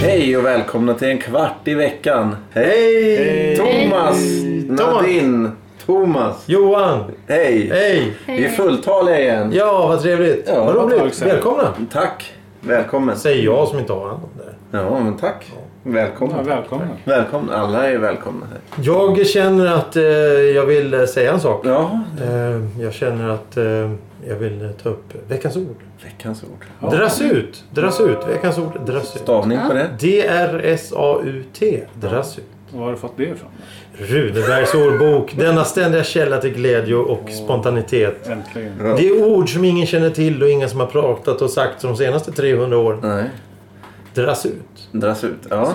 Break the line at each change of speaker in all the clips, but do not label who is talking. Hej och välkomna till en kvart i veckan. Hej!
Hej!
Thomas!
Hej!
Nadine! Thomas!
Johan!
Hej!
Hej!
Vi är fulltaliga igen.
Ja, vad trevligt.
Ja,
vad
vad
roligt.
tag sedan.
Välkomna.
Tack! Välkommen.
Säger jag som inte har hand om det här.
Ja, men tack.
Ja,
Välkommen.
välkomna.
Välkommen. Alla är välkomna här.
Jag känner att eh, jag vill eh, säga en sak.
Ja,
Eh, jag känner att eh, jag vill eh, ta upp veckans ord.
veckans ord.
Ja.
Dras ut. Dras ut. Veckans ord. Dras ut.
Stavning på det.
D-R-S-A-U-T. Dras ut.
Var har du fått det ifrån?
Runebergs ordbok. Denna ständiga källa till glädje och spontanitet.
Äntligen.
Ja.
Det är ord som ingen känner till och ingen som har pratat och sagt de senaste 300 åren.
Nej,
Dras ut.
dras ut. Ja,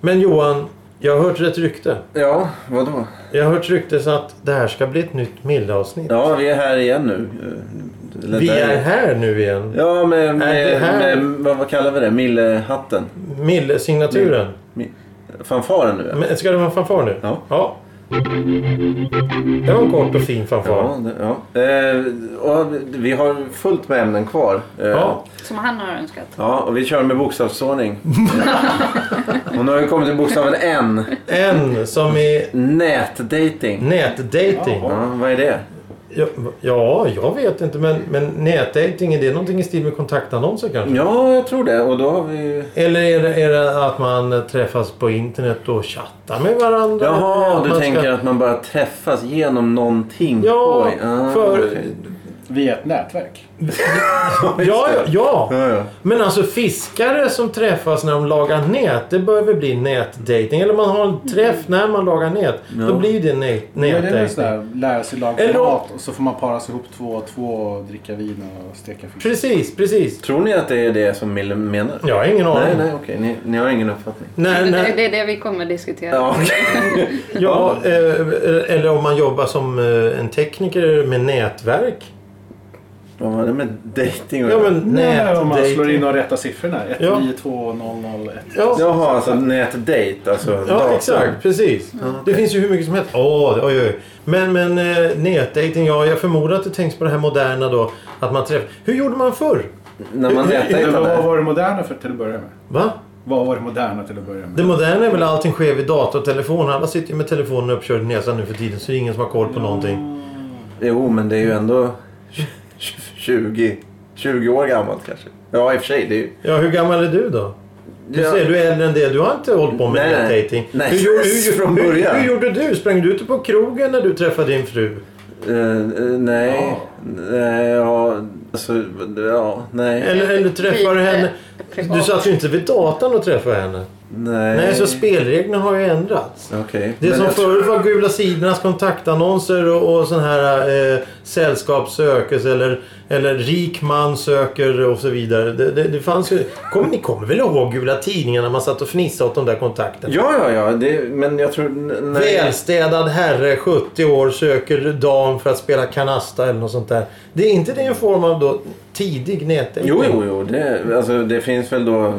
Men Johan, jag har hört ett rykte.
ja vadå?
Jag har hört ryktes att det här ska bli ett nytt Mille-avsnitt.
Ja, vi är här igen nu. Eller
Vi
där.
är här nu igen.
Ja, med,
Är det
med,
här?
med vad, vad kallar vi det? Millehatten?
Mille-signaturen.
Mi- Fanfaren nu?
Men Ska det vara en fanfar nu?
Ja.
Det var en kort och fin fanfar.
Ja, det- ja. Eh, och vi har fullt med ämnen kvar. Eh,
Ja.
Som han har önskat.
ja, och vi kör med bokstavsordning. och nu har vi kommit till bokstaven N.
En som är
Nätdating.
nätdating.
Ja, vad är det?
Ja, ja, jag vet inte. Men, men nätdating, är det någonting i stil med kontaktannonser kanske?
Ja, jag tror det. Och då har vi ju...
Eller är det, är det att man träffas på internet och chattar med varandra? Eller
Jaha,
att
du
man
tänker att man bara träffas genom någonting?
Ja,
Oj, ah,
för-
okej.
Via ett nätverk.
Ja, ja, ja.
Ja, ja.
Men alltså fiskare som träffas när de lagar nät, det bör väl bli nätdating. Eller man har en träff när man lagar nät. Då blir det nä-
Ja, det är väl
nätdating.
sådär, lära sig
Eller-
laga mat och så får man paras ihop två och två och dricka vin och steka fisk.
Precis, precis.
Tror ni att det är det som Mille menar?
Jag har ingen aning.
Nej, nej, okej. Ni, ni har ingen uppfattning.
När,
Det,
när,
det är det vi kommer diskutera.
Ja, okej.
ja, eh, eller om man jobbar som eh, en tekniker med nätverk.
Vad har det med dating
Ja, men
Nej, om man slår in
nätdating.
de rätta siffrorna. 1,
Ja.
9, 2, 0, 0, 1.
Ja,
Jaha, alltså nätdate. Alltså
ja
dator.
exakt. Precis. Det finns ju hur mycket som helst. Åh, oj, oj. Men, men eh, nätdating, ja, jag förmodar att du tänks på det här moderna då. Att man träffar... Hur gjorde man förr?
När man
Vad
nätdejtade.
var det moderna för till att börja med?
Va?
Vad var det moderna till att börja
Det
med?
moderna är väl allting sker vid dator och telefon. Alla sitter ju med telefonen uppkörd i näsan nu för tiden så det är ingen som har koll på någonting.
Jo, men det är ju ändå 20, 20 år gammalt kanske. Ja, i och för sig. Det är ju...
Ja, hur gammal är du då? Du
Ja.
ser, du är äldre än det. Du har inte hållit på med
Nej, nej.
nätdejting.
Nej,
Hur, gjorde- hur,
från början.
Hur, hur gjorde du? Sprang du ut på krogen när du träffade din fru?
Eh, eh, nej. Nej, ja. Alltså, ja. Nej.
Eller, eller träffade du
Lite
henne?
privat.
Du satt ju inte vid datorn och träffade henne.
Nej.
Nej, så spelreglerna har ju ändrats.
Okej.
Det
men
som
jag-
förut var Gula sidornas kontaktannonser och, och sån här eh, sällskap sökes eller, eller rik man söker och så vidare. Det, det, det fanns ju... Kom, ni kommer väl ihåg Gula tidningar när man satt och fnissade åt de där kontakterna?
Ja, ja, ja. Det, men jag tror... n- Nej.
Välstädad herre, 70 år, söker dam för att spela kanasta eller något sånt där. Det är inte det en form av då tidig nätdejting?
Jo, jo, jo. Det, alltså, det finns väl då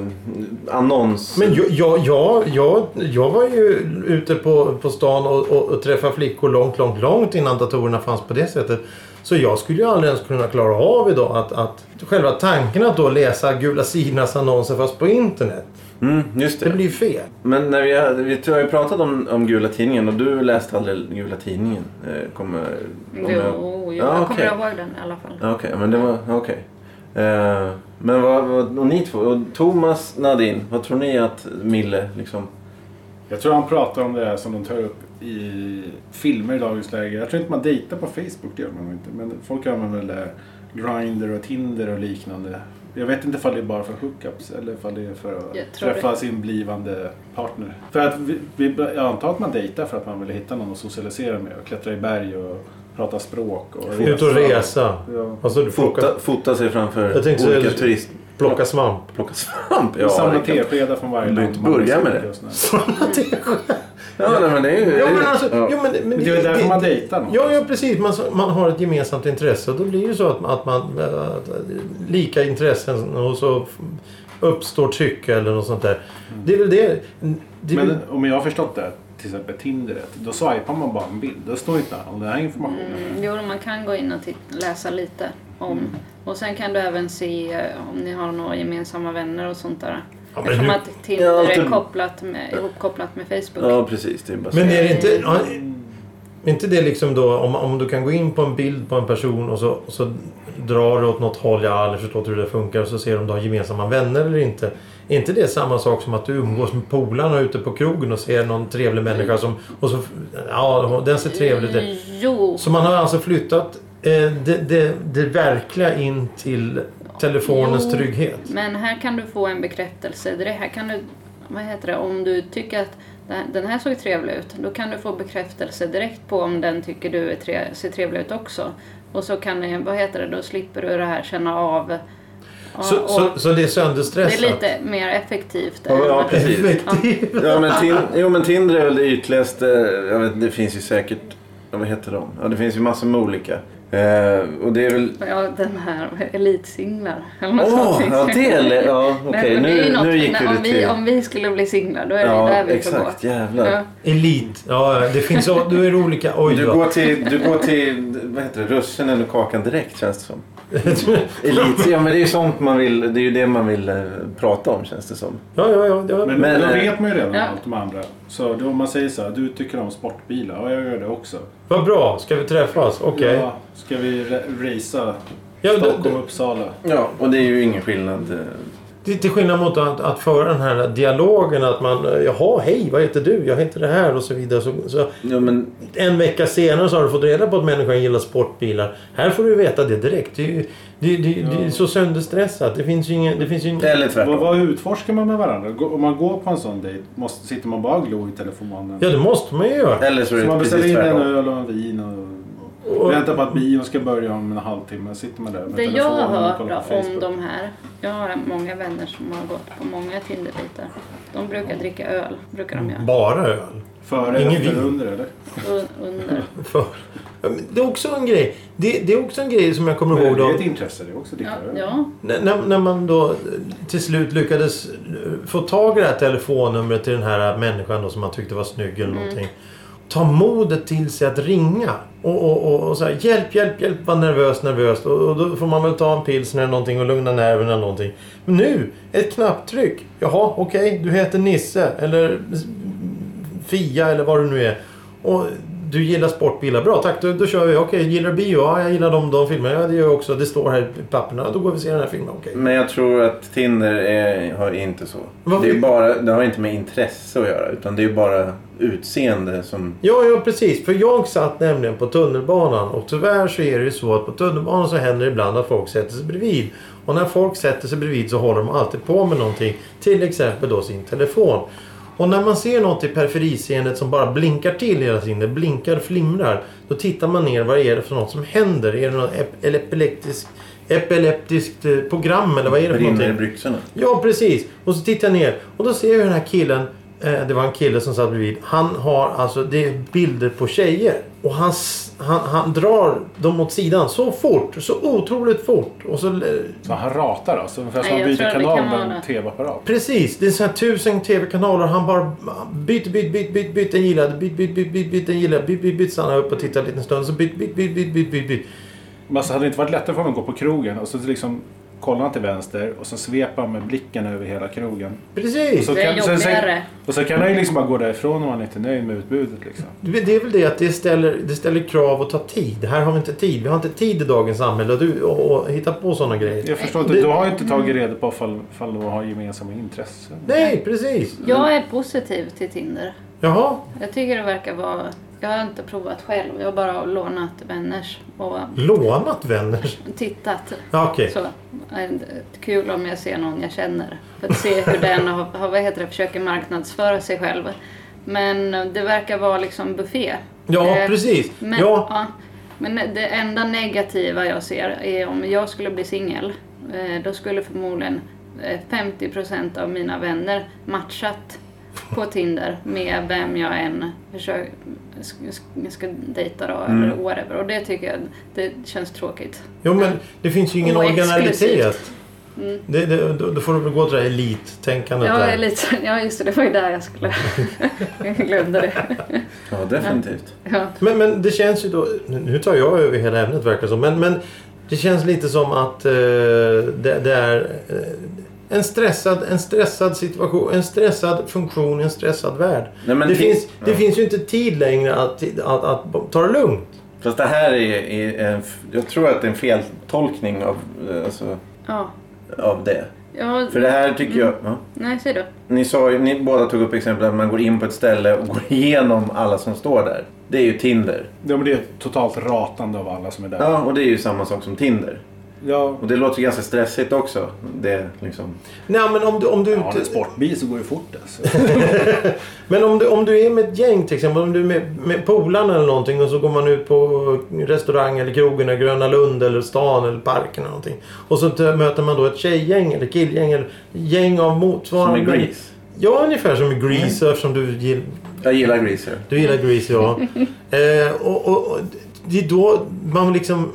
annons...
Men jag, jag, jag, jag, jag var ju ute på, på stan och, och, och träffade flickor långt, långt, långt innan datorerna fanns på det sättet. Så jag skulle ju aldrig ens kunna klara av idag att, att själva tanken att då läsa Gula Sidornas annonser fast på internet.
Mm, just
Det
det.
blir ju fel.
Men när vi, hade- vi har ju pratat om, om Gula Tidningen och du läste aldrig Gula Tidningen. eh, Kommer... om jag-
Jo, jo,
Ja,
jag
okej.
kommer ihåg den i alla fall.
Ja, Okej, men det var... Okej. Eh, men vad, vad... Och ni två? Och Thomas, Nadine, vad tror ni att Mille liksom...
Jag tror han pratar om det här som de tar upp i filmer i dagens läge. Jag tror inte man dejtar på Facebook, det gör man nog inte. Men folk använder väl eh, Grindr och Tinder och liknande. Jag vet inte ifall det är bara för hookups eller ifall det är för
Jag
att
tror
träffa
det.
sin blivande partner. För att vi, vi, jag antar att man dejtar för att man vill hitta någon att socialisera med och klättra i berg och prata språk. Och
Ut och resa.
Ja.
Alltså du plocka,
Fota, fota sig framför
Jag tänkte säga
olika
det.
turist...
plocka svamp.
Plocka svamp?
Samla
det kan-
teskedar från varje
Du behöver
land.
inte börja med det.
Och sådär.
Sådana teskedar.
Ja, nej, men det är ju...
Ja, men alltså,
ja.
jo, men, men,
Det är väl därför man dejtar någon.
Ja, ja precis. Man, man har ett gemensamt intresse och då blir det så att, att man... eh, lika intressen och så uppstår tycke eller något sånt där. Det är väl det... det är väl-
Men om jag har förstått det, till exempel Tinderet, då swipar man bara en bild. Då står inte all den här informationen.
Mm, jo, man kan gå in och titt- läsa lite om.
Mm.
Och sen kan du även se eh, om ni har några gemensamma vänner och sånt där.
Ja, men
Eftersom
hur-
att Tinder
Ja,
är
typ-
kopplat med, ihopkopplat med Facebook.
ja, precis. Det är bara så.
Men är det inte... ja, Är inte det liksom då om, om du kan gå in på en bild på en person och så, och så drar du åt något håll, jag har aldrig förstått hur det funkar och så ser du om du har gemensamma vänner eller inte. Är inte det samma sak som att du umgås med polarna ute på krogen och ser någon trevlig människa som... Och så, ja, den ser trevlig ut.
Jo,
Så man har alltså flyttat eh, det, det, det verkliga in till telefonens
Jo.
trygghet.
men här kan du få en bekräftelse. Det här kan du, vad heter det, om du tycker att det- den här såg trevlig ut, då kan du få bekräftelse direkt på om den tycker du är tre, ser trevlig ut också. Och så kan ni, vad heter det, då slipper du det här känna av. Ja,
Så,
och
så, så det är
det
sönderstressat.
är lite mer effektivt.
Ja, ja,
än-
precis.
Effektivt.
Ja, men tin- jo, men Tinder är väl det ytligaste. Jag vet, det finns ju säkert... Ja, vad heter de? Ja, det finns ju massor med olika. Eh, och det är väl...
Ja, den här elitsinglar. eller något
Åh,
sånt.
ja, det är... Ja, okej.
Nej, men det är ju
Nu,
något-
nu gick
nej,
vi
om, vi,
till...
om vi skulle bli singlar, då är
Ja,
det där vi får
exakt.
gå.
Jävlar.
Ja.
Elit. Ja, det finns... Du är olika... Oj
Du
då.
går, till, du går till vad heter det, russinen och kakan direkt känns det som. Elit. Ja men det är ju sånt man vill, det är ju det man vill eh, prata om känns det som.
Ja, ja, ja. Det var...
Men,
Men,
då
eh,
vet man ju redan
ja.
allt om andra. Så då om man säger så här, du tycker om sportbilar. Ja, jag gör det också.
Vad bra, ska vi träffas? Okej.
Ja, ska vi ra- racea
Ja, då-
Stockholm,
då-
Uppsala?
Ja. Och det är ju ingen skillnad. eh.
Det är Till skillnad mot att, att föra den här dialogen att man eh, Jaha, hej, vad heter du? Jag heter det här och så vidare. Så, så
Ja, men,
en vecka senare så har du fått reda på att människan gillar sportbilar. Här får du veta det direkt. Det är, ju- det, det, det är så sönderstressat. Det finns ju ingen... Det finns ju ingen...
eller
Vad,
tvärtom.
vad utforskar man med varandra? Gå- Om man går på en sån dejt, måste, sitter man bara och glor i telefonen?
Ja, det måste man ju göra.
Eller så är
så man
det
beställer
precis
in en
tvärtom.
öl och en vin och,
Och-
väntar på att bion ska börja om en halvtimme. Sitter man där med
Det jag
telefonen
har
och
hört
kollar på
då om
Facebook.
de här, jag har många vänner som har gått på många Tinderdejter. De brukar dricka öl, brukar de
Mm.
göra.
Bara öl.
Före,
Ingen
efter,
vin.
under eller?
Un- Under.
För... Ja, men Det är också en grej. Det, det är också en grej som jag kommer
Men
ihåg.
det
Då.
är ett intresse det också.
Ja,
Ja,
ja.
När, när- när man då eh, till slut lyckades eh, få tag i det här telefonnumret till den här människan då, som man tyckte var snygg eller någonting. Ta modet till sig att ringa. Och, och, och, och så här, hjälp, hjälp, hjälp. Vad nervös, nervös. Och, och då får man väl ta en pilsner eller någonting och lugna nerverna eller någonting. Men nu, ett knapptryck. Jaha, okej, du heter Nisse. Eller Fia eller vad du nu är. Och du gillar sportbilar. Bra, tack. Då, då kör vi. Okej, gillar du bio? Ja, jag gillar de, de filmerna. Ja, det gör jag också. Det står här i papperna. Då går vi och ser den här filmen. Okej.
Men jag tror att Tinder är, har inte så.
Varför?
Det, är bara, det har inte med intresse att göra utan det är ju bara utseende som...
Ja, ja precis. För jag satt nämligen på tunnelbanan och tyvärr så är det ju så att på tunnelbanan så händer det ibland att folk sätter sig bredvid. Och när folk sätter sig bredvid så håller de alltid på med någonting. Till exempel då sin telefon. Och när man ser något i periferiseendet som bara blinkar till hela tiden, det blinkar, flimrar. Då tittar man ner, vad är det för något som händer? Är det något ep- epileptisk, epileptiskt eh, program eller vad är det för
Brinner i
någonting?
byxorna.
Ja, precis. Och så tittar jag ner och då ser jag den här killen. Eh, det var en kille som satt bredvid. Han har alltså, det är bilder på tjejer. Och han, s- han, han drar dem åt sidan så fort. Så otroligt fort. Och så, eh,
Så han ratar alltså? Ungefär som
Nej,
att
jag tror
byta
det
kanal
kan
med
vara
en
det.
TV-apparat.
precis, det är så här tusen tv-kanaler. Han bara byter, byter, byter, byter, byter, den gillar jag. Byter, byter, byter, byter, byter, den gillar jag. Byter, byter, byter, stannar upp och tittar en liten stund. Så byter, byter, byter, byter, byter, byter, byter.
Men alltså, hade det inte varit lättare för honom att gå på krogen och så liksom kollar han till vänster och så svepar han med blicken över hela krogen.
Precis.
Så
Det är
sen-
jobbigare.
och så kan han ju liksom bara gå därifrån om han inte är nöjd med utbudet. Liksom.
Det det är väl det att det ställer, det ställer krav och tar tid. Här har vi inte tid. Vi har inte tid i dagens samhälle att du- och, och hitta på sådana grejer.
Jag förstår inte, du har ju inte tagit reda på fall, fall de har gemensamma intressen.
Nej, precis.
Jag är positiv till Tinder.
Jaha.
Jag tycker det verkar vara... Jag har inte provat själv, jag har bara lånat vänners och
Lånat vänner?
tittat.
Ja, Okej.
Så, eh, kul om jag ser någon jag känner. För att se hur den har, har, vad heter det, försöker marknadsföra sig själv. Men eh, det verkar vara liksom buffé.
Ja,
Eh,
precis.
Men,
Ja,
ja, men det enda negativa jag ser är om jag skulle bli singel. eh, Då skulle förmodligen eh, 50% av mina vänner matchat på Tinder med vem jag än försöker, ska, ska dejta då,
Mm.
eller whatever. Och det tycker jag det känns tråkigt.
Jo, men det finns ju ingen
Och
originalitet.
exklusivt. Mm.
Det, det, då, då får du väl gå till det här elittänkandet
Ja,
där.
lite, ja, just det, det var ju där jag skulle... jag glömde det.
Ja, definitivt.
Ja.
Men, men det känns ju då... nu- Nu tar jag över hela ämnet verkar det som. Men, men det känns lite som att eh, det, det är eh, en, stressad, en stressad situation, en stressad funktion i en stressad värld.
Nej, men
det,
ti-
finns, det
ja.
finns ju inte tid längre att, att, att, ta det lugnt.
Fast det här är, är en, f- jag tror att det är en feltolkning av, eh, alltså,
Ja.
av det.
ja.
För det här tycker jag... Ja.
Nej, säg du.
Ni, sa, ju- ni båda tog upp exempel att man går in på ett ställe och går igenom alla som står där. Det är ju Tinder.
Ja, men det är ett totalt ratande av alla som är där.
Ja, och det är ju samma sak som Tinder.
Ja,
Och det låter ju ganska stressigt också. Det liksom...
Nej, men om du, om du,
har du
inte-
en sportbil så går det fort alltså.
Men om du, om du är med ett gäng till exempel, om du är med, med polarna eller någonting och så går man ut på restaurang eller krogen eller Gröna Lund eller stan eller parken eller någonting. Och så t- möter man då ett tjejgäng eller killgäng eller gäng av
Som i
motsvarande.
Grease. Mm.
Ja, ungefär som i Grease eftersom du, gill,
Jag gillar Grease. ja.
du gillar Grease ja. eh, och, och, och det är då man liksom...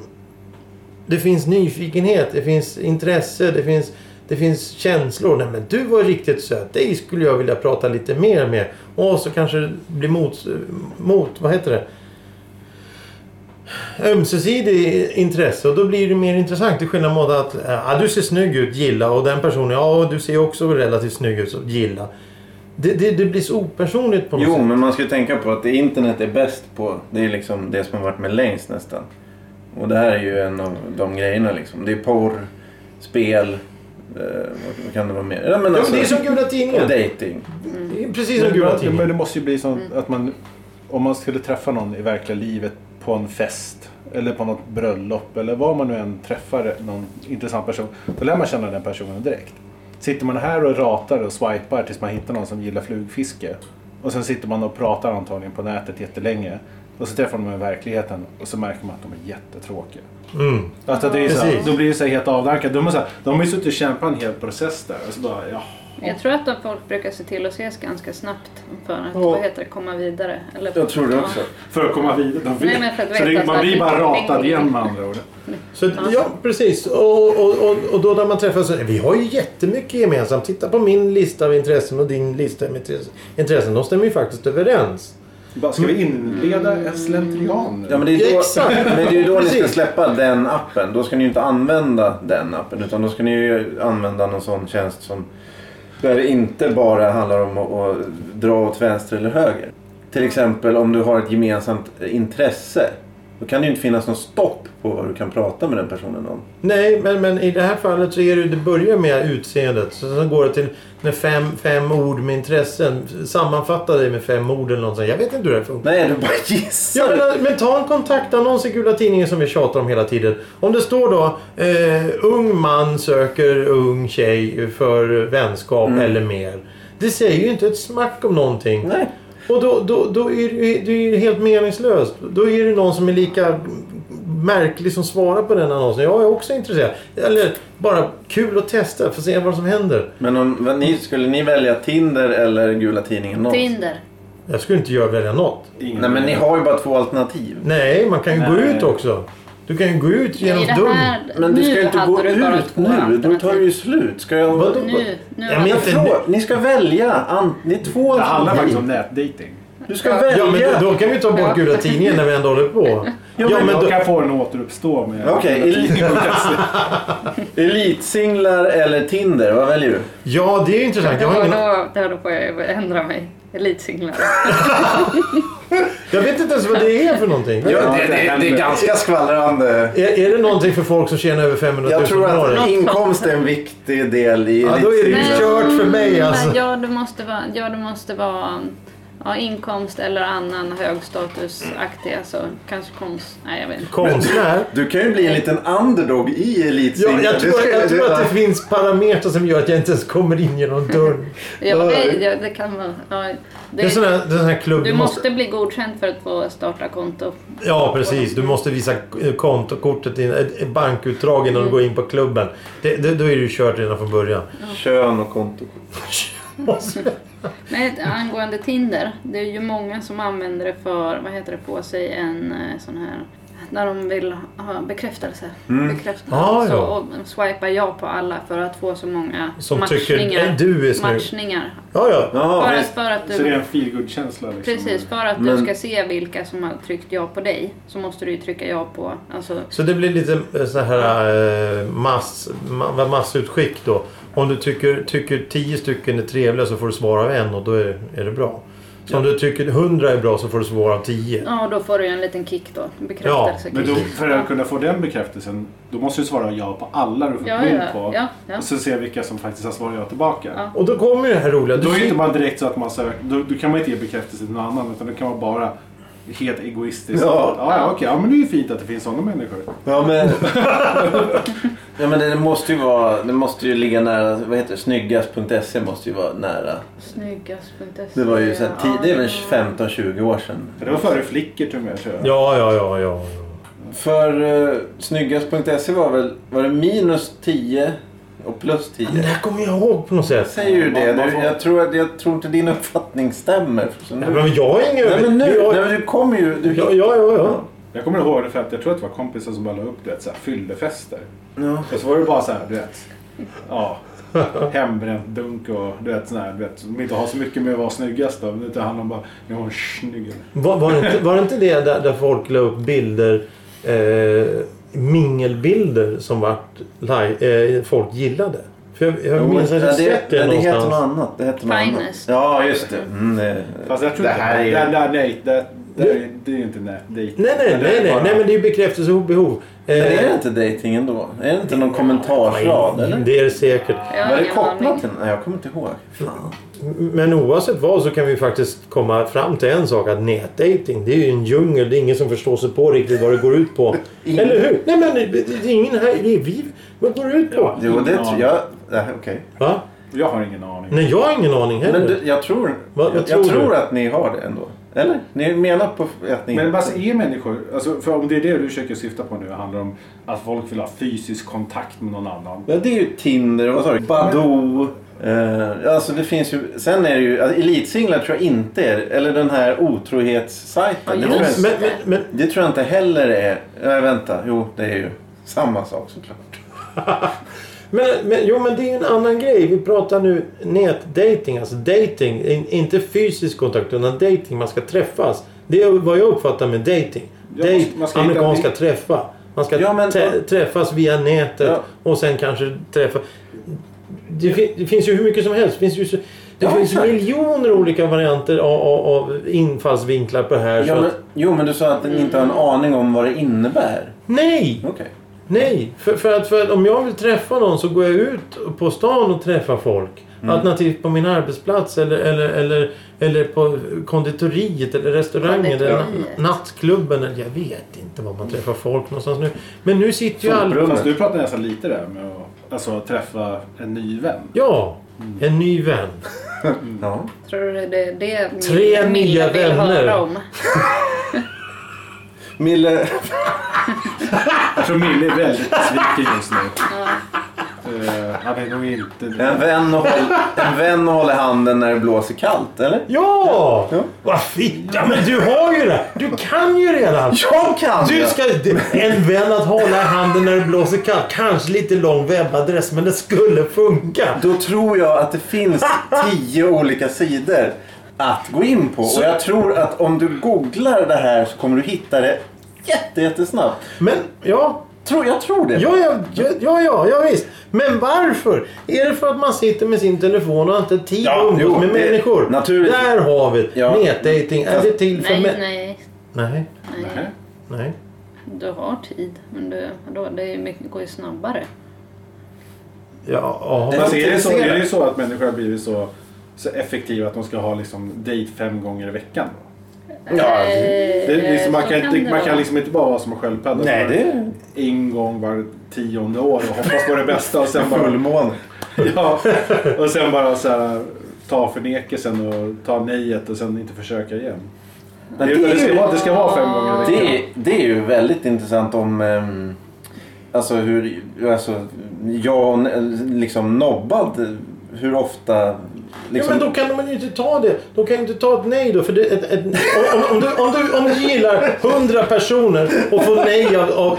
Det finns nyfikenhet, det finns intresse, det finns, det finns känslor. Nej men du var riktigt söt, dig skulle jag vilja prata lite mer med. Och så kanske det blir mot, mot... Vad heter det? Ömsesidig intresse och då blir det mer intressant. Till skillnad mot att ja, du ser snygg ut, gilla. Och den personen, ja du ser också relativt snygg ut, så gilla. Det, det, det blir så opersonligt på något
Jo,
sätt.
men man ska ju tänka på att det internet är bäst på, det är liksom det som har varit med längst nästan. Och det här är ju en av de grejerna liksom. Det är porr, spel, eh, vad, vad kan det vara mer? Ja, men
Ja,
alltså,
men det är som gula
och Mm.
tidningen.
dating.
Det är Precis som
Men,
gula
men, men
tidningen.
det måste ju bli så att man, om man skulle träffa någon i verkliga livet på en fest eller på något bröllop eller var man nu än träffar någon intressant person, då lär man känna den personen direkt. Sitter man här och ratar och swipar tills man hittar någon som gillar flugfiske och sen sitter man och pratar antagligen på nätet jättelänge och så träffar man dem i verkligheten och så märker man att de är jättetråkiga.
Mm.
Alltså det är så här,
Precis.
då blir det så här helt avdankat. De, är så här, de har ju suttit och kämpat en hel process där. Och så bara, ja.
Jag tror att de folk brukar se till att ses ganska snabbt för att
Ja.
vad heter det, komma vidare. Eller
Jag tror det också.
För att komma vidare. De vill.
Nej, men för att
så
veta
det, man
att-
blir bara ratad igen med andra ord.
Så, att- ja, precis. Och, och, och, och då när man träffas... Vi har ju jättemycket gemensamt. Titta på min lista av intressen och din lista med intresse- intressen. De stämmer ju faktiskt överens.
Bara, Ska vi inleda en slentrian nu?
Ja, men det är ju då,
Exakt.
men det är ju då ni ska
Precis.
släppa den appen. Då ska ni ju inte använda den appen. Utan då ska ni ju använda någon sån tjänst som där det inte bara handlar om att, att dra åt vänster eller höger. Till exempel om du har ett gemensamt intresse. Då kan det ju inte finnas någon stopp på vad du kan prata med den personen om.
Nej, men, men i det här fallet så är det, det börjar med utseendet. Så sen går det till med fem, fem ord med intressen. Sammanfatta dig med fem ord eller något sånt. Jag vet inte hur det här funkar.
Nej, du bara gissar.
Ja, men, men ta en kontaktannons i Gula Tidningen som vi tjatar om hela tiden. Om det står då eh, ung man söker ung tjej för vänskap eller mer. Det säger ju inte ett smack om någonting.
Nej.
Och då, då, då är det- det är ju helt meningslöst. Då är det någon som är lika märklig som svarar på den annonsen. Jag är också intresserad. Eller bara kul att testa för att se vad som händer.
Men om, vad ni, skulle ni välja Tinder eller Gula Tidningen? Någon?
Tinder.
Jag skulle inte göra välja något.
Ingen-
Nej, men ni har ju bara två alternativ.
Nej, man kan ju gå
Nej.
ut också. Du kan ju gå ut
Men
genom
i det
dörren.
här-
Men du
nu
ska ju inte
hade
gå
du bara
ut
två
nu. Då tar det
alternativ.
ju slut. Ska jag...
Vadå?
Nu, nu
Ja,
har
men-
Jag
jag-
Inte
frågar, ni ska välja. Ant, ni är två
Det handlar faktiskt om
alternativ.
nätdating.
Du ska välja.
Ja, men då, då kan vi ta bort
Ja.
Gula Tidningen när vi ändå håller på. Ja,
men
men
jag
då,
kan få den att återuppstå med...
Okej, Elitsinglar eller Tinder? Vad väljer du?
ja, det är ju intressant.
Det
Jag, har
var
ingen,
då, det var då får jag ändra mig. Elitsinglar.
jag vet inte ens vad det är för någonting.
Ja, det- det- det är ganska
skvallrande.
Är, är det någonting för folk som tjänar över 500 000
Jag tror
om året?
att inkomst är en viktig del i
Ja, då är det ju
elitsinglar.
kört för mig alltså.
Ja, det måste vara, ja, det måste vara ja, inkomst eller annan högstatusaktig. Alltså, kanske konst. Nej, jag vet inte.
Konstnär?
Du kan ju bli en liten underdog i
Ja,
elitsinglar.
jag, tror,
ska-
jag tror att det finns parametrar som gör att jag inte ens kommer in genom dörren.
Ja, det, ja, det kan vara... Ja,
Det är en sån här, det är en sån här klubb.
Du måste bli godkänd för att få starta konto.
Ja, precis. Du måste visa eh, kontokortet, i- ett- ett bankutdrag innan du går in på klubben. Det, det, då är du kört redan från början.
Kön och konto.
Måste-
Men ett- angående Tinder, det är ju många som använder det för, vad heter det, på sig en eh, sån här när de vill ha bekräftelse.
Mm.
bekräftelse.
Ah,
så,
ja.
och swipar ja på alla för att få så många
Som tycker
matchningar.
"Ey, du är snygg.
matchningar.
Ja, ja.
Ja,
Bara
visst.
för att
Så det är
du,
en feelgood-känsla liksom.
precis, för att du
Men-
ska se vilka som har tryckt ja på dig så måste du ju trycka ja på, alltså
Så det blir lite eh, så här eh, mass, ma- vad massutskick då. Om du tycker, tycker tio stycken är trevliga så får du svar av en och då är, är det bra. Så om du tycker hundra är bra så får du svar av tio.
Ja, då får du ju en liten kick då. En Bekräftelse.
Men då,
kanske.
för att kunna få den bekräftelsen, då måste du svara ja på alla du får
ja,
bild
ja,
på.
ja, ja.
Och sen se vilka som faktiskt har svarat ja tillbaka.
Ja.
Och då kommer ju det här roliga. Du
Då är ju
sit-
inte man direkt så att man söker, då, då kan man inte ge bekräftelse till någon annan utan då kan man bara helt egoistiskt.
Ja.
ja, ja okej, ja men det är ju fint att det finns sådana människor.
Ja, men... ja, men det måste ju vara... Det måste ju ligga nära... Vad heter det? Snyggast.se E måste ju vara nära.
Snyggast.se.
Det var ju sen, ti, det är väl
Ja.
15-20 år sedan.
Det var före Flickr till och med tror jag.
Ja, ja, ja, ja.
För eh, snyggast.se E var väl... Var det minus 10 och plus 10?
Det här kommer jag ihåg på något
Jag
sätt.
säger ju det.
Man- man
Du,
får-
jag, tror att, jag tror inte din uppfattning stämmer. Så nu,
Nej, men jag har ingen...
nej, men nu...
jag,
Nej, men du kommer ju... Du,
ja, ja, ja, ja.
Jag kommer ihåg det för att jag tror att det var kompisar som bara la upp du vet, så här, fyllefester.
Ja.
Och så var det bara så här, du vet. Ja. Hembränt dunk och du vet sån här, du vet. Som inte har så mycket med att vara snyggast då. Utan det handlar om bara, jag är snygg.
Var, var, det inte, var det inte det där, där folk la upp bilder, eh, mingelbilder som vart li- eh, folk gillade? För jag, jag
Jo,
minns att
ja,
jag sett det,
ja, det heter något
någonstans.
annat. Det heter något annat.
Finest.
Ja, just det. Mm, det,
Fast jag tror
det
inte,
här är
det, det, nej, det, det, är- det är ju inte nej. Det är-
Nej,
det
nej,
är
nej, nej,
bara-
nej, men det är ju bekräftelse och behov. Eh,
Men är det inte dating ändå? Är det inte någon kommentarsrad? Eller?
det är det säkert.
Jag har
Var det
ingen
kopplat
aning.
till Nej, jag kommer inte ihåg. Fan.
Men oavsett vad så kan vi faktiskt komma fram till en sak att nätdating det är ju en djungel. Det är ingen som förstår sig på riktigt vad det går ut på.
Ingen.
Eller hur? Nej men det, det är ingen här. Det är vi. Vad går det ut på?
Jo, det
Ingen
tror
aning.
jag... Nej, okej.
Va?
Jag har ingen aning.
Nej, jag har ingen aning heller.
Men du, jag tror...
Vad- vad
jag,
tror
jag
du?
tror att ni har det ändå. Eller? Ni menar på att ni...
Men vad är människor? Alltså, för om det är det du försöker syfta på nu, handlar om att folk vill ha fysisk kontakt med någon annan.
Ja, det är ju Tinder och vad sa du? Badoo. Eh, alltså det finns ju... Sen är det ju... Alltså, elitsinglar tror jag inte är... Eller den här
Ja,
otrohetssajten. det, tror jag,
just
inte-
men, men, men,
det tror jag inte heller är... Nej, vänta. Jo, det är ju samma sak såklart.
Men, men, jo, men det är ju en annan grej. Vi pratar nu nätdating, alltså dating. In, inte fysisk kontakt, utan dating. Man ska träffas. Det är vad jag uppfattar med dating.
Ja,
Date,
man ska hitta
amerikanska
en-
träffa. Man ska
Ja, men-
trä, träffas via nätet
Ja.
och sen kanske träffa... Det, fi, det finns ju hur mycket som helst. Det finns ju, så, det
Ja,
finns
exakt.
miljoner olika varianter av, av, av infallsvinklar på det här.
Ja,
så
men,
att,
jo, men du sa att ni inte har en aning om vad det innebär.
nej!
Okej.
Nej, för, för, att, för att om jag vill träffa någon så går jag ut på stan och träffar folk. Alternativt på min arbetsplats eller, eller, eller, eller på konditoriet eller restaurangen eller
Konditoriet.
na- nattklubben. Eller, jag vet inte var man träffar folk någonstans nu. Men nu sitter ju alla...
Soprummet.
Fast du pratar nästan lite där med att alltså, träffa en ny vän.
Ja, en ny vän.
Ja.
Tror du det är det
Tre
Mille
nya
vill
vänner.
höra om?
Mille...
Jag tror Mille är väldigt besviken just nu. Eh, han är nog inte...
En vän, och håll, en vän och håller handen när det blåser kallt, eller?
Ja!
Ja.
Vad fint! Ja, men du har ju det! Du kan ju redan!
Jag kan
Du
det!
ska, en vän att hålla i handen när det blåser kallt. Kanske lite lång webbadress, men det skulle funka.
Då tror jag att det finns tio olika sidor att gå in på. Och jag tror att om du googlar det här så kommer du hitta det jätte, jättesnabbt.
Men, ja.
Tror, jag tror det.
Ja, ja, ja, ja, ja, ja, visst. Men varför? Är det för att man sitter med sin telefon och har inte tid
Ja,
att umgås
jo,
med
det-
människor?
naturligtvis.
Där har vi det.
Ja.
Nätdating. Är det till för
Nej,
män-
nej,
Nej,
nej.
Nej.
nej.
Du har tid. Men du, vadå, det är ju mycket, går ju snabbare.
Ja, ja.
Fast är det, så, är det så att människor har blivit så, så effektiva att de ska ha liksom, dejt fem gånger i veckan?
Ja,
det,
Det, är liksom, man, kan inte, man kan
vara.
liksom inte bara vara som en sköldpadda.
Nej,
som
det är
En gång var tionde år och hoppas på det bästa och sen bara
fullmåne.
Ja, och sen bara så här, ta förnekelsen och ta nejet och sen inte försöka igen. Det,
Men det är
det, ska,
ju-
vara, det ska vara fem gånger i veckan.
Det, är- det är ju väldigt intressant om ehm, alltså hur alltså, jag och n- liksom nobbad hur ofta liksom,
Ja, men då kan man ju inte ta det. Då kan jag inte ta ett nej då. För det, ett, ett, om, om, du, om, du, om du gillar 100 personer och får nej av, av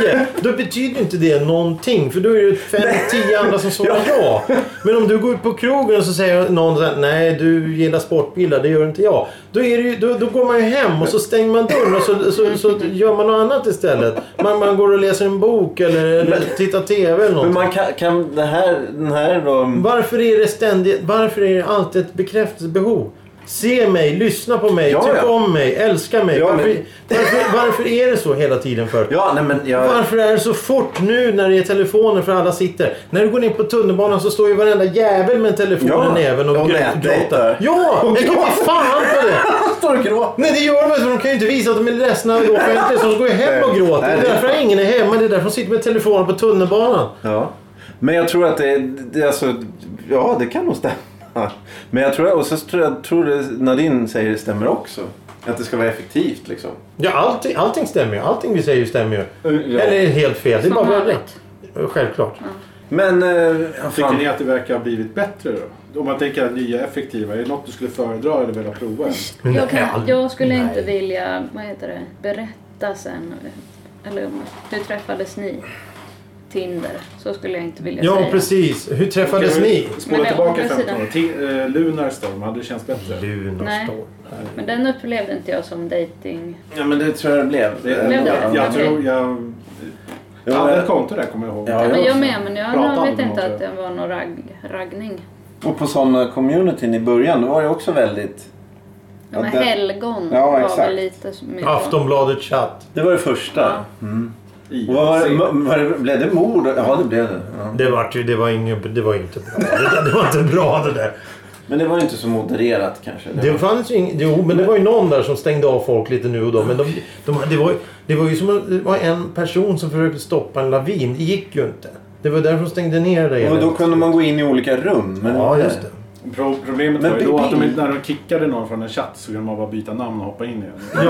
10. Då betyder inte det någonting. För då är det 5-10 andra som svarar ja. Men om du går ut på krogen och så säger någon så här, nej du gillar sportbilar, det gör inte jag. Då, är det ju, då, då går man ju hem och så stänger man dörren och så, så, så gör man något annat istället. Man, man går och läser en bok eller, eller tittar TV eller något.
men man kan, kan det här, den här då...
Varför är det ständigt, varför är det alltid ett bekräftelsebehov? Se mig, lyssna på mig,
Ja,
tyck
ja.
om mig, älska mig.
Ja,
varför,
men-
varför, varför är det så hela tiden för?
Ja, nej men jag...
Varför är det så fort nu när det är telefoner för alla sitter? När du går in på tunnelbanan så står ju varenda jävel med telefonen
Ja,
i näven och,
och
grå-
nätdejtar.
gråter. Ja, jag kan ge fan på det.
Han står och gråter!
Nej det gör de inte för de kan ju inte visa att de är ledsna och offentligt så de går ju hem och
Nej.
gråter. Det
Nej,
är
det-
därför ingen är hemma. Det är därför de sitter med telefonen på tunnelbanan.
Ja. Men jag tror att det, det alltså, ja det kan nog stämma. Men jag tror, och så tror jag tror det Nadine säger stämmer också. Att det ska vara effektivt liksom.
Ja, allting, allting stämmer ju. Allting vi säger stämmer ju.
Ja.
Eller är helt fel. Det är
Som
bara
vanligt.
rätt. Självklart.
Men, eh, ja,
Tycker ni
fan.
att det verkar ha blivit bättre då? Om man tänker att nya är effektiva, är det något du skulle föredra eller vilja prova ens?
Men
Jag, kan,
all-
jag skulle
nej.
inte vilja, vad heter det, berätta sen. Eller om- hur träffades ni? Tinder. Så skulle jag inte vilja
Ja,
säga.
precis. Hur träffades
Kan vi
ni?
Men
Spola
det- å
tillbaka
andra
15 år.
sidan-
Ti- eh, Lunarstorm, hade det känts
Mm.
bättre?
Nej.
Lunarstorm.
Men den upplevde inte jag som dating.
Ja men det tror jag det blev.
Det,
Men-
jag, jag
men-
tror jag... Jag hade ett konto där kommer jag ihåg.
Ja,
men
jag
jag
också.
med, men jag,
Prata
jag
aldrig
vet
med
inte
någon,
att det var någon ragg, raggning.
Och på sådana communityn i början, då var det också väldigt...
Ja, men
Ja, det-
helgon
Ja,
var
exakt.
väl lite så mycket.
Aftonbladet chatt.
Det var det första.
I-
Och vad var det,
se-
m- var det, blev det mord? Ja det blev det. Ja.
Det var ju det var inget, det var ju inte bra. Det, där- det var inte bra det där.
Men det var ju inte så modererat kanske.
Det fanns ju ing, jo, men det var ju någon där som stängde av folk lite nu och då. Men de, de, det, var, ju- det var ju som att det var en person som försökte stoppa en lavin. Det gick ju inte. Det var därför de stängde ner det.
och då kunde man gå in i olika rum. Men
Ja, just det.
Pro- Problemet
Men
var ju då att de,
Bill-
inte- när de kickade någon från en chatt så kunde man bara byta namn och hoppa in igen.
Ja.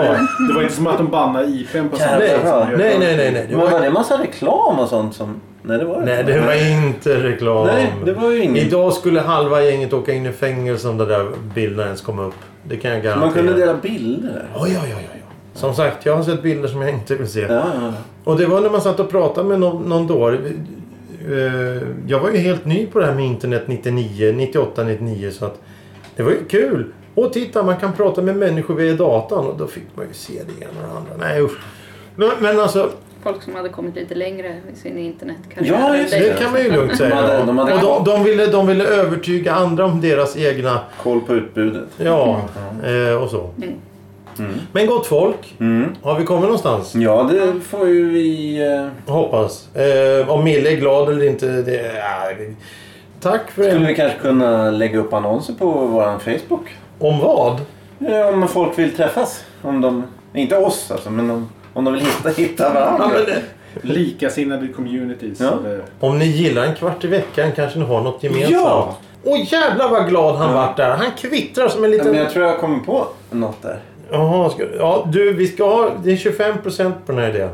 Det var inte som att de bannade IPn på samma
Jävlar.
Nej,
sätt som man gör
nej,
idag.
nej, nej. nej. Det
Men var
var,
det en massa reklam och sånt som... Nej det var
nej, det var inte reklam.
Nej, det var ju inget.
Idag skulle halva gänget åka in i fängelse om de där bilderna ens kom upp. Det kan jag garantera.
Man kunde dela bilder.
Ja, ja, ja, ja, ja. Som sagt, jag har sett bilder som jag inte vill se.
Ja, ja.
Och det var när man satt och pratade med någon, någon då. Eh, Jag var ju helt ny på det här med internet 99, 98, 99. Så att det var ju kul. Och titta, man kan prata med människor via datan. Och då fick man ju se det ena och det andra. Nej, usch. Men, men alltså,
Folk som hade kommit lite längre i sin internetkarriär.
Ja, just
det kan man ju lugnt säga.
De hade- de hade-
och de, de, ville, de ville övertyga andra om deras egna...
Koll på utbudet.
Ja,
Mm.
eh, och så. Men gott folk, har vi kommit någonstans?
Ja, det får ju vi... eh,
Hoppas. Eh, om Mille är glad eller inte. Det, ja, det- tack för
Skulle
det.
vi kanske kunna lägga upp annonser på vår Facebook?
Om vad?
Eh, Om folk vill träffas. Om de... Inte oss alltså, men om, om de vill hitta, hitta varandra.
Likasinnade communities. Eh,
Ja.
Eller,
Om ni gillar en kvart i veckan kanske ni har något gemensamt.
Ja!
Och jävlar vad glad han vart där. Han kvittrar som en
Nej,
liten...
Men jag tror jag kommer på något där.
Jaha, ska, ja, du, vi ska ha... Det är 25% på den här idén.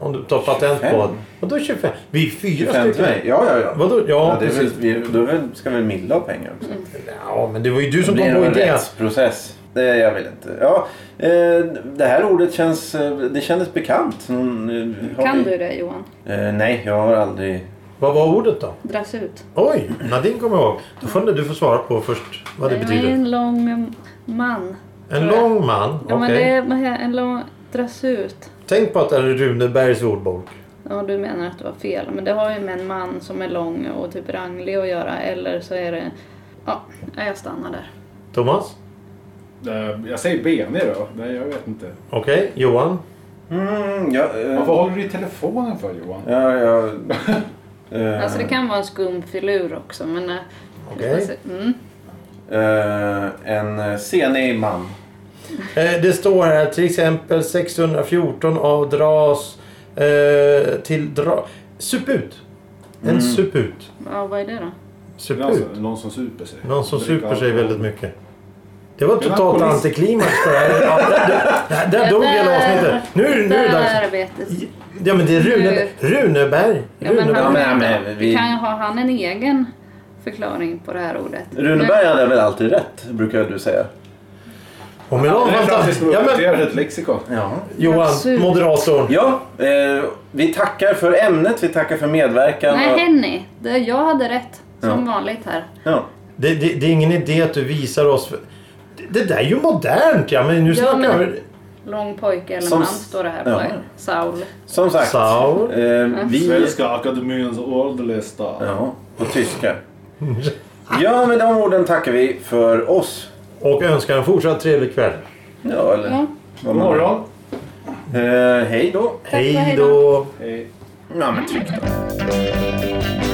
Om du tar patent på
25?
det. Vadå 25? Vi är fyra
25 till
stycken.
mig. Ja, ja, ja.
Vadå? Ja,
Ja, det är väl,
precis.
vi, då är väl- ska väl Milla ha pengar också?
Ja, men det var ju du som
Det
kom
blir
på
nog en
idén.
rättsprocess. Det, jag vill inte. Ja, eh, det här ordet känns, eh, det kändes bekant. Någon, eh, har
Kan
vi-
du det Johan?
Eh, nej, jag har aldrig...
Vad var ordet då?
Dras ut.
Oj, Nadine kommer ihåg. Då får du få svara på först vad det
Nej,
betyder.
är en lång eh, man.
En
tror jag.
lång man?
Ja, men
Okej.
det är vad he- en lång... Dras ut.
Tänk på att det är Runebergs ordbok.
Ja, du menar att det var fel. Men det har ju med en man som är lång och typ ranglig att göra. Eller så är det... Ja, jag stannar där.
Thomas?
eh, jag säger BN då. Nej, jag vet inte.
Okej, Johan?
Mm, ja,
Varför
eh,
håller du i telefonen för Johan?
ja, ja, eh,
Alltså det kan vara en skum filur också, men... eh,
Okej.
Mm.
eh, en eh, senig man.
Eh, det står här till exempel 614 av dras eh, till dra... Suput. En suput.
Ja, vad är det då?
Det är Alltså,
Suput.
någon som super sig.
Någon som
Dricker
super sig
alkohol.
väldigt mycket. Det var
Det är
totalt
alkoholist.
antiklimax på det här. Ja, där- Där, där dog hela avsnittet. Nu, är det- nu är det dags.
Där vet jag.
Ja men det är Rune, Runeberg.
Ja, men
Runeberg.
han,
Ja, men- men vi-
Kan ju ha han en egen förklaring på det här ordet.
Runeberg hade väl alltid rätt, brukar du säga.
Om en
Det är
avfattad...
faktiskt
Ja, men,
uppdaterat ett lexikon.
Ja.
Johan,
Absolut.
moderatorn.
Ja, eh, vi tackar för ämnet, vi tackar för medverkan.
Nej,
och-
Henny. Det, jag hade rätt. Som
Ja.
vanligt här.
ja.
Det, det, det är ingen idé att du visar oss... för- Det, det där är ju modernt! Ja, men nu
Ja,
snackar
men-
vi...
Lång pojke eller
Som
man
s-
står det här
Ja.
på. Saul.
Som sagt,
Saul.
eh, vi...
Svenska Akademiens ordlista.
Ja, på tyska. Ja, med de orden tackar vi för oss.
Och önskar en fortsatt trevlig kväll.
Ja, eller...
Ja.
vad man-
God morgon.
Eh, hej då.
och hej
Hej
då.
då!
Hej.
Ja, men tryck då.